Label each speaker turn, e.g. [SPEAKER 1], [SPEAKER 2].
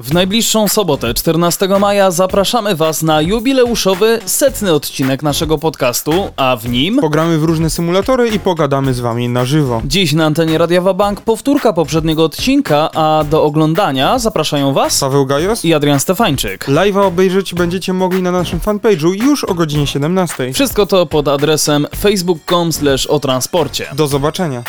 [SPEAKER 1] W najbliższą sobotę, 14 maja, zapraszamy Was na jubileuszowy setny odcinek naszego podcastu, a w nim.
[SPEAKER 2] Pogramy w różne symulatory i pogadamy z wami na żywo.
[SPEAKER 1] Dziś na antenie Radiowa Bank powtórka poprzedniego odcinka, a do oglądania zapraszają Was
[SPEAKER 2] Paweł Gajos?
[SPEAKER 1] i Adrian Stefańczyk.
[SPEAKER 2] Live'a obejrzeć będziecie mogli na naszym fanpage'u już o godzinie 17.
[SPEAKER 1] Wszystko to pod adresem facebook.com/o transporcie.
[SPEAKER 2] Do zobaczenia.